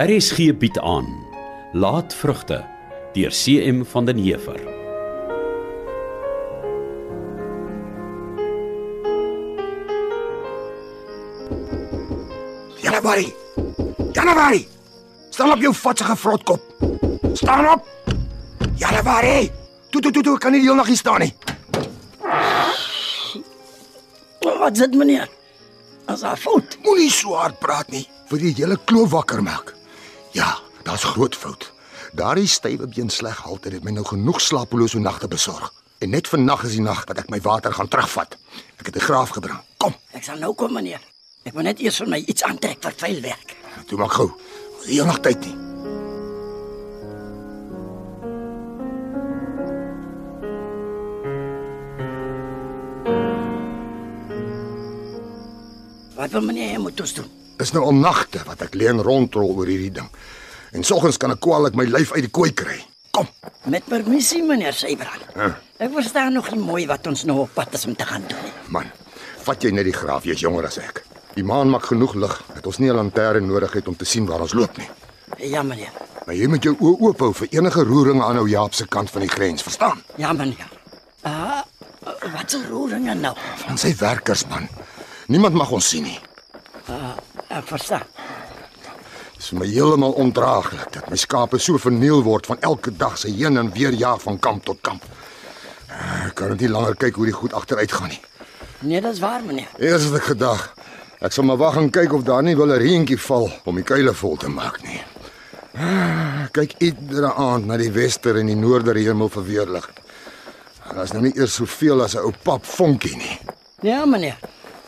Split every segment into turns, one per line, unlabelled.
RSG bied aan Laatvrugte deur CM van den Heever.
Januarie. Januarie. Staan op jou vatsige vrotkop. Staan op. Januarie. Toe toe toe toe kan nie die hele nag hier staan nie.
Wat is dit meneer? As haar fout.
Moenie so hard praat nie. Vir die hele kloof wakker maak. Ja, daar's groot fout. Daardie stywe been sleg halte het my nou genoeg slapelose nagte besorg. En net vannag is die nag wat ek my water gaan terugvat. Ek het 'n graaf gebring. Kom,
Ek sal nou kom meneer. Ek moet net eers vir my iets aantrek vir vuil werk.
toe maak gou. Hier nog tyd nie.
Wat wil meneer hê moet ons doen?
Dis nou al nagte wat ek leen rondrol oor hierdie ding. En soggens kan ek kwaliek my lyf uit die kooi kry. Kom.
Met permissie meneer Sybrand.
Huh.
Ek verstaan nog nie mooi wat ons nou op pad is om te gaan doen nie.
Man, vat jy net die graaf, jy's jonger as ek. Die maan maak genoeg lig dat ons nie 'n lantern nodig het om te sien waar ons loop nie.
Ja meneer.
Maar jy moet jou oë oop hou vir enige roeringe aan ou Jaap se kant van die grens, verstaan?
Ja meneer. Ah, wat se roeringe nou?
Van sy werkers, man. Niemand mag ons sien nie.
Ek verstaan.
Dit is vir my heeltemal ondraaglik dat my skape so verniel word van elke dag se heen en weer jaag van kamp tot kamp. Ek kan dit nie langer kyk hoe die goed agteruit gaan nie.
Nee, dis waar meneer.
Eers het ek gedag, ek sal maar wag en kyk of daar nie wel 'n reentjie val om die kuile vol te maak nie. Ah, Kyk iedere aand na die wester en die noorder hemel vir weerlig. Daar's nou nie eers soveel as 'n ou pap vonkie nie.
Ja meneer.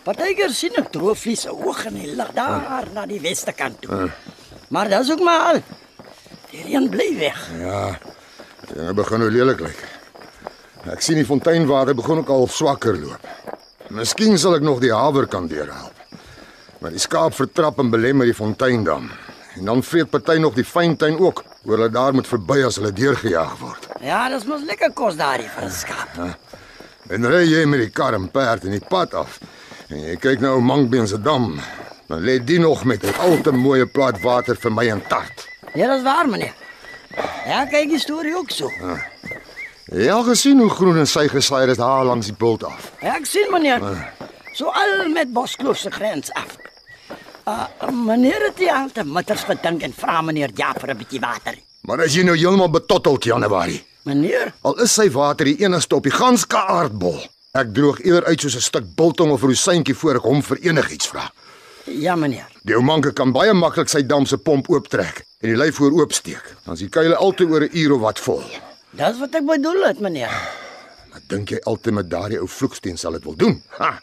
Partykeer sien ek droëvlies se oog in die lig daar na die weste kant toe. Maar dis ook maar al. Die reën bly weg.
Ja, dit begin nou lelik lyk. Ek sien die fonteinwater begin ook al swakker loop. Miskien sal ek nog die hawer kan deurhelp. Maar die skaap vertrap en belemmer die fonteindam. En dan vreet party nog die fyntuin ook, oor hulle daar moet verby as hulle deurgejaag word.
Ja, dis mos lekker kos daardie vir 'n skaap.
En ry jy met die kar en perd in die pad af. En jy kyk nou Mangbeen se dam. Dan lê die nog met 'n al te mooi plaat water vir my en tart.
Ja, dis waar meneer. Ja, kyk die storie ook so.
Jy het al gesien hoe groen en sy gesaai dit haar langs die bult af.
Ja, ek sien meneer. So al met Boskloof se grens af. Uh, meneer het die alte mitters gedink en vra meneer ja vir 'n bietjie water.
Maar as jy nou heeltemal betotteld Januarie.
Meneer,
Al is sy water die enigste op die ganske aardbol. Ek droog eerder uit soos 'n stuk biltong of rosyntjie voor ek hom vir enigiets vra.
ja meneer.
Die ou manke kan baie maklik sy dam se pomp ooptrek en die lyf voor oopsteek. Dan is die kuile altyd oor 'n uur of wat vol.
Dis wat ek bedoel het meneer.
Maar dink jy altyd met daardie ou vloeksteen sal dit wil doen? Ha.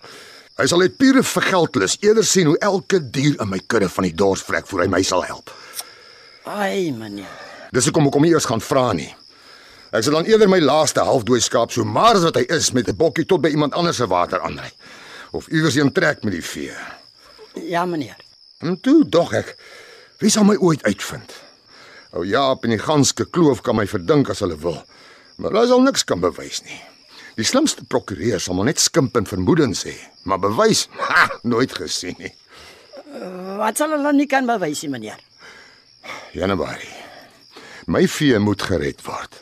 Hy sal uit pure vergeldlus eerder sien hoe elke dier in my kudde van die dors vrek voor hy my sal help.
Ai meneer.
Dis hoekom ek hom nie eers gaan vra nie. Ek sal dan eerder my laaste halfdooi skaap so maar as wat hy is met 'n bokkie tot by iemand anders se water aanry of iewers heen trek met die vee.
Ja meneer.
En toe dog ek, wie sal my ooit uitvind? Ou Jaap en die ganske kloof kan my verdink as hulle wil, maar hulle sal niks kan bewys nie. Die slimste prokureur sal maar net skimp en vermoedens hê, maar bewys, ha, nooit gesien nie.
Wat sal hulle nie kan bewys nie meneer.
Januarie. My vee moet gered word.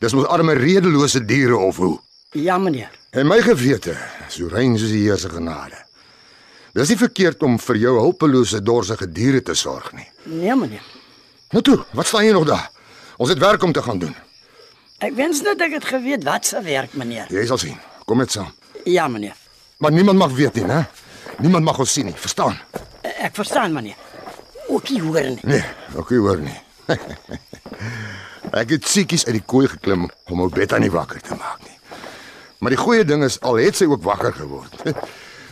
Dis mos arme redelose diere of hoe?
Ja meneer.
En my gewete, so rein soos die Here se genade. Dis nie verkeerd om vir jou hulpelose dorsige diere te sorg nie.
Nee meneer.
Nou toe, wat staan jy nog daar? Ons het werk om te gaan doen.
Ek wens net ek het geweet wat se werk meneer.
Jy sal sien. Kom met saam.
Ja meneer.
Maar niemand mag weet nie, né? Niemand mag ons sien nie, verstaan?
Ek verstaan meneer. Ook nie hoor nie.
Nee, ook nie hoor nie. ek het siekies uit die kooi geklim om ou Betta nie wakker te maak nie. Maar die goeie ding is al het sy ook wakker geword.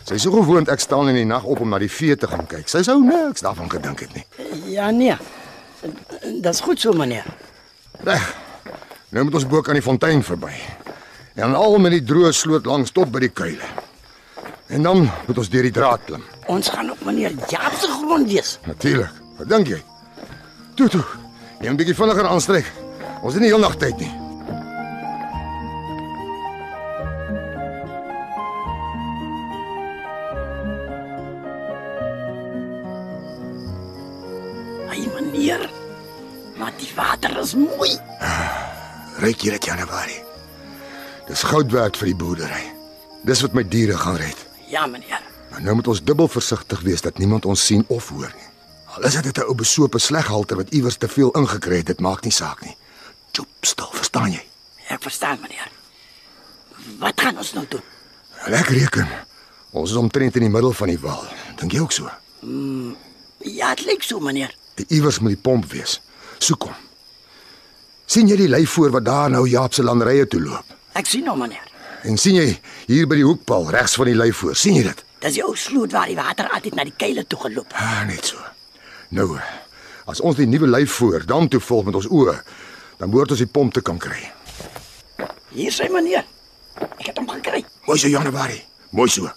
sy is so gewoond ek staan in die nag op om na die vee te gaan kyk. Sy sou niks daarvan gedink het nie.
Ja nee. Dis goed so meneer.
Reg. Nou moet ons bo aan die fontein verby. En dan al met die droë sloot langs tot by die kuile. En dan moet ons deur die draad klim.
Ons gaan op meneer Jaap se grond wees.
Natuurlik. Wat dink jy? Toe toe. Jy moet 'n bietjie vinniger aanstryk. Ons het nie heelnag tyd nie.
Ai meneer. meer. Maar die water is mooi.
Ryk hier dit Januarie. Dis goud werd vir die boerdery. Dis wat my diere gaan red.
Ja, meneer.
Maar nou moet ons dubbel versigtig wees dat niemand ons sien of hoor nie. Al is dit net 'n ou besope sleghalter wat iewers te veel ingekry het, dit maak nie saak nie. Chop, stil, verstaan jy?
Ek verstaan, meneer. Wat gaan ons nou doen?
Lekker reken. Ons is omtrent in die middel van die wal. Dink jy ook so?
Ja, dit lyk so, meneer.
Iewers moet die pomp wees. Soek hom. sien jy die lei voor wat daar nou Jaap se landerye toe loop?
Ek sien hom, meneer.
En sien jy hier by die hoekpaal regs van die lei voor, sien jy dit?
Dis die ou sloot waar die water altyd na die keile toe geloop.
Ah, net so. Nou, as ons die nuwe lei voor dan toe volg met ons oë, dan moet ons die pomp te kan kry.
Hier sien meneer. Ek het hom gekry.
Mooi so Januarie. Mooi so.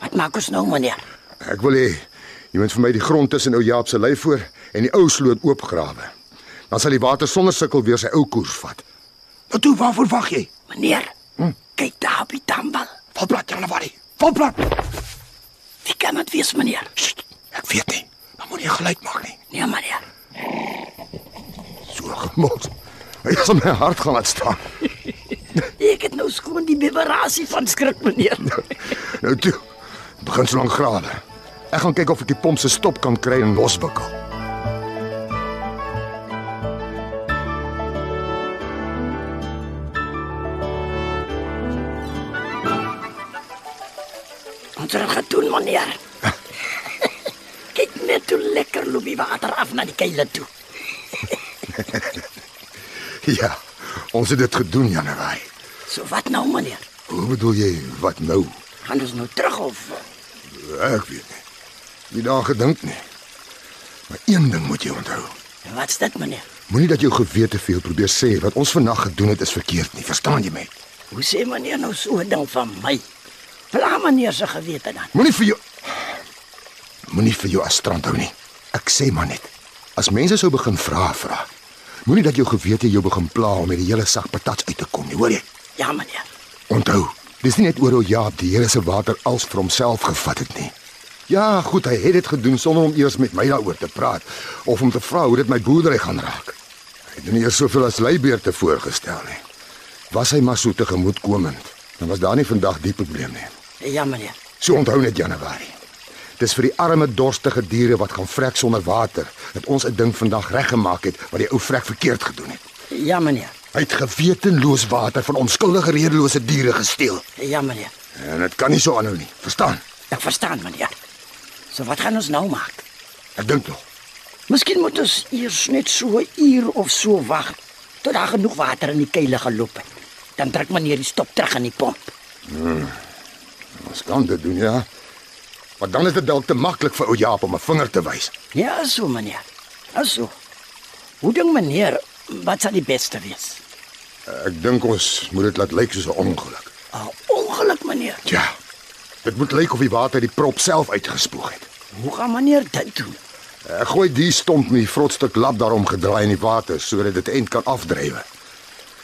Wat maak ons nou, meneer?
Ek wil hê jy moet vir my die grond tussen ou Jaap se lei voor en die ou sloot oopgrawe. Dan sal die water sonder sukkel weer sy ou koers vat. Nou toe, waarvoor wag jy?
Meneer. Kyk daar op die dambal.
Valplat Januarie. Valplat.
Wie kan dit wees, meneer?
Sst, ek weet nie. Maar moenie geluid maak nie.
Nee, meneer.
So gemors. Ek sal my hart gaan laat staan.
Ek het nou skoon die beverasie van skrik, meneer.
Nou toe. Begin so lank grawe. Ek gaan kyk of ek die pomp se stop kan kry en loswikkel.
Ons het dit gedoen, meneer. Kyk net hoe lekker loop die water af na die keile toe.
Ja. Ons het dit gedoen Januarie.
So wat nou, meneer?
Hoe bedoel jy wat nou?
Gaan ons nou terug of
Ek weet nie. Nie daar gedink nie. Maar een ding moet jy onthou.
wat's dit, meneer?
Moenie dat jou gewete veel probeer sê wat ons vannag gedoen het is verkeerd nie. Verstaan jy my?
Hoe sê meneer nou so 'n ding van my? Pla meneer se gewete dan.
Moenie vir jou Moenie vir jou astrand hou nie. Ek sê maar net. As mense sou begin vra vra. Moenie dat jou gewete jou begin pla om met die hele sak patats uit te kom nie, hoor jy?
Ja, meneer.
Onthou, dis nie net oor hoe Jaap die Here se water als vir homself gevat het nie. Ja, goed, hy het dit gedoen sonder om eers met my daaroor te praat of om te vra hoe dit my boerdery gaan raak. Hy het nie eers soveel as leibeerte voorgestel nie. Was hy maar so tegemoetkomend, dan was daar nie vandag die probleem nie.
Ja, meneer.
So onthou net Januarie. Dis vir die arme dorstige diere wat gaan vrek sonder water dat ons 'n ding vandag reggemaak het wat die ou vrek verkeerd gedoen het.
Ja, meneer.
Hy het gewetenloos water van onskuldige redelose diere gesteel.
Ja, meneer.
En dit kan nie so aanhou nie. Verstaan?
Ek verstaan, meneer. So wat gaan ons nou maak?
Ek dink nog.
Miskien moet ons eers net so 'n uur of so wag tot daar genoeg water in die keile geloop het. Dan druk meneer die stop terug in die pomp.
Ons kan dit doen, ja. Maar dan is dit dalk te maklik vir ou Jaap om 'n vinger te wys.
Ja, is so meneer. Is so. Hoe dink meneer wat sal die beste wees?
Ek dink ons moet dit laat lyk soos 'n ongeluk.
'n Ongeluk, meneer.
Ja. Dit moet lyk of die water die prop self uitgespoeg het.
Hoe gaan meneer dit doen?
Ek gooi die stomp met die vrotstuk lap daarom gedraai in die water sodat dit eind kan afdrywe.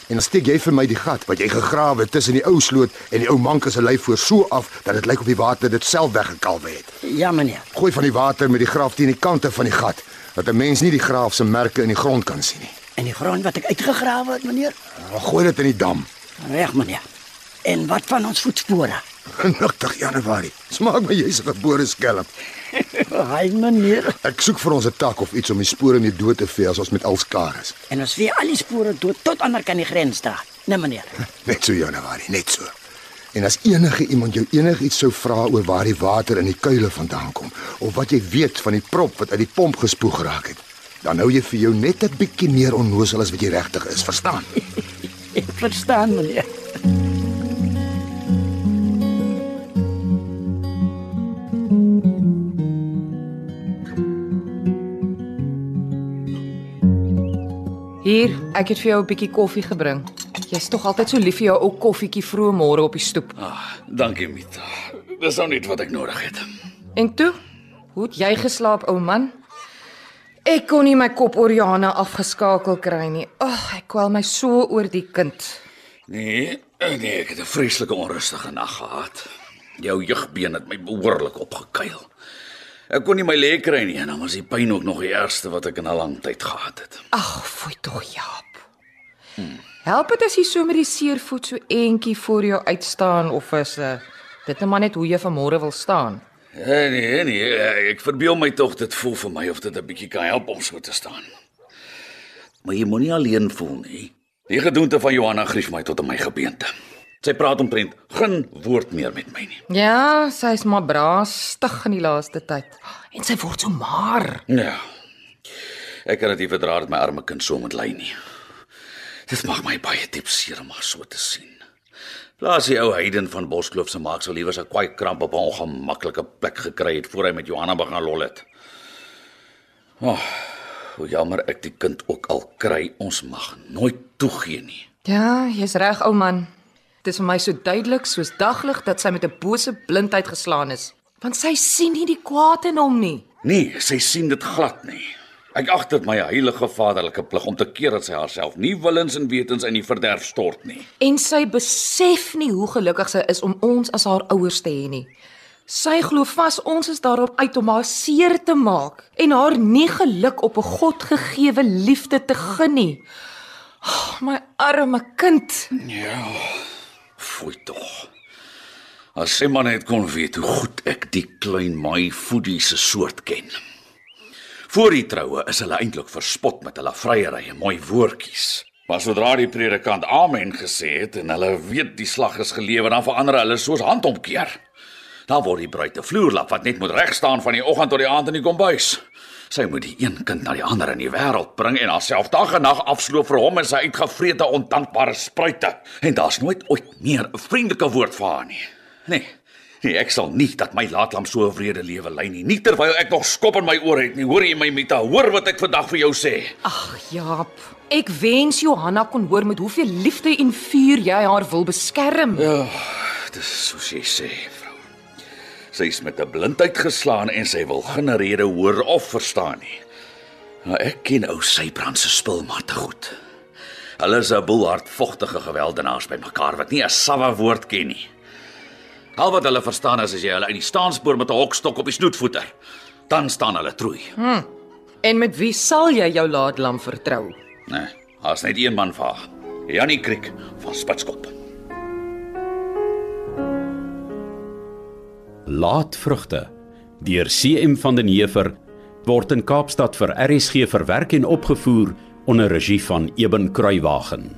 En dan steek jy vir my die gat wat jy gegrawe het tussen die ou sloot en die ou manke se lyf voor so af dat dit lyk of die water dit self weggekalwe het.
Ja, meneer.
Gooi van die water met die graaf teen die kante van die gat dat 'n mens nie die graaf se merke in die grond kan sien nie.
En die grond wat ek uitgegrawe het, meneer?
Dan gooi dit in die dam.
Reg, meneer. En wat van ons voetspore?
Genigtig Januarie. Smaak my jy's 'n gebore skelm.
Hy meneer.
Ek soek vir ons 'n tak of iets om die spore mee dood te vee as ons met alskaar is.
En ons vee al die spore dood tot ander kan die grensstraat. Nee, meneer.
Net so Januarie, net so. En as enige iemand jou enigiets sou vra oor waar die water in die kuile vandaan kom of wat jy weet van die prop wat uit die pomp gespoeg geraak het, dan hou jy vir jou net 'n bietjie meer onnoosel as wat jy regtig is, verstaan?
Ek verstaan, meneer.
Hier, ek het vir jou 'n bietjie koffie gebring. Jy's tog altyd so lief vir jou ou koffietjie vroeg môre op die stoep.
Ah. Dankie, Mita. Dis nou net wat ek nodig het.
En toe, hoe het jy geslaap, ou man? Ek kon nie my kop oor Johanna afgeskakel kry nie. Ag, ek kwel my so oor die kind.
Nee, nee, ek het 'n vreeslike onrustige nag gehad. Jou jeugbeen het my behoorlik opgekuil. Ek kon nie my lê kry nie en dan was die pyn ook nog die ergste wat ek in 'n lang tyd gehad het.
Ag, fooi tog, Jaap. Help dit as jy so met die seervoet so eentjie voor jou uitstaan of is uh, dit net maar net hoe jy vanmôre wil staan?
Nee, nee, nee, ek verbeel my tog dit voel vir my of dit 'n bietjie kan help om so te staan. Maar jy moenie alleen voel nie. Die gedoente van Johanna grief my tot in my gebeente. Sy praat omtrent geen woord meer met my nie.
Ja, sy's maar braas stig in die laaste tyd. En sy word so maar.
Ja. Ek kan dit nie verdra dat my arme kind so moet ly nie. Dit maak my baie diep seer om haar so te sien. Plaas die ou heiden van Boskloof se maak sou liewer 'n kwaai kramp op 'n ongemaklike plek gekry het voor hy met Johanna begin lol het. Ag, oh, jammer ek die kind ook al kry, ons mag nooit toegee nie.
Ja, jy's reg, ou man. Dit is vir my so duidelik soos daglig dat sy met 'n bose blindheid geslaan is, want sy sien nie die kwaad in hom nie.
Nee, sy sien dit glad nie. Ek ag dit my heilige vaderlike plig om te keer dat sy haarself nie willens en wetens in die verderf stort nie.
En sy besef nie hoe gelukkig sy is om ons as haar ouers te hê nie. Sy glo vas ons is daarop uit om haar seer te maak en haar nie geluk op 'n godgegewe liefde te gun nie. Oh, my arme kind.
Ja. Fooi tog. As sy maar net kon weet hoe goed ek die klein maai foodie se soort ken. Voor die troue is hulle eintlik verspot met hulle vryery en mooi woordjies. Maar sodra die predikant amen gesê het en hulle weet die slag is gelewer, dan verander hulle soos handomkeer. Dan word die bruid 'n vloerlap wat net moet reg staan van die oggend tot die aand in die kombuis. Sy moet die een kind na die ander in die wêreld bring en haarself dag en nag afsloof vir hom en sy uitgevrete ondankbare spruite. En daar's nooit ooit meer 'n vriendelike woord vir haar nie. Nee. Nee, ek sal nie dat my laatlam so 'n wrede lewe lei nie. Nie terwyl ek nog skop in my oor het nie. Hoor jy my Mita? Hoor wat ek vandag vir jou sê.
Ag, Jaap. Ek wens Johanna kon hoor met hoeveel liefde en vuur jy haar wil beskerm.
Ja, dis soos jy sê, vrou. Sy's met 'n blindheid geslaan en sy wil geen rede hoor of verstaan nie. Maar ek ken ou Sybrand se spul maar te goed. Hulle is 'n boel hardvogtige geweldenaars by mekaar wat nie 'n sawwe woord ken nie. Al wat hulle verstaan is as jy hulle uit die staanspoor met 'n hokstok op die snoet voeter, dan staan hulle troei.
En met wie sal jy jou laatlam vertrou?
Nee, daar's net een man vir haar. Janie Kriek van Spitskop.
Laatvrugte deur CM van den Heever word in Kaapstad vir RSG verwerk en opgevoer onder regie van Eben Kruiwagen.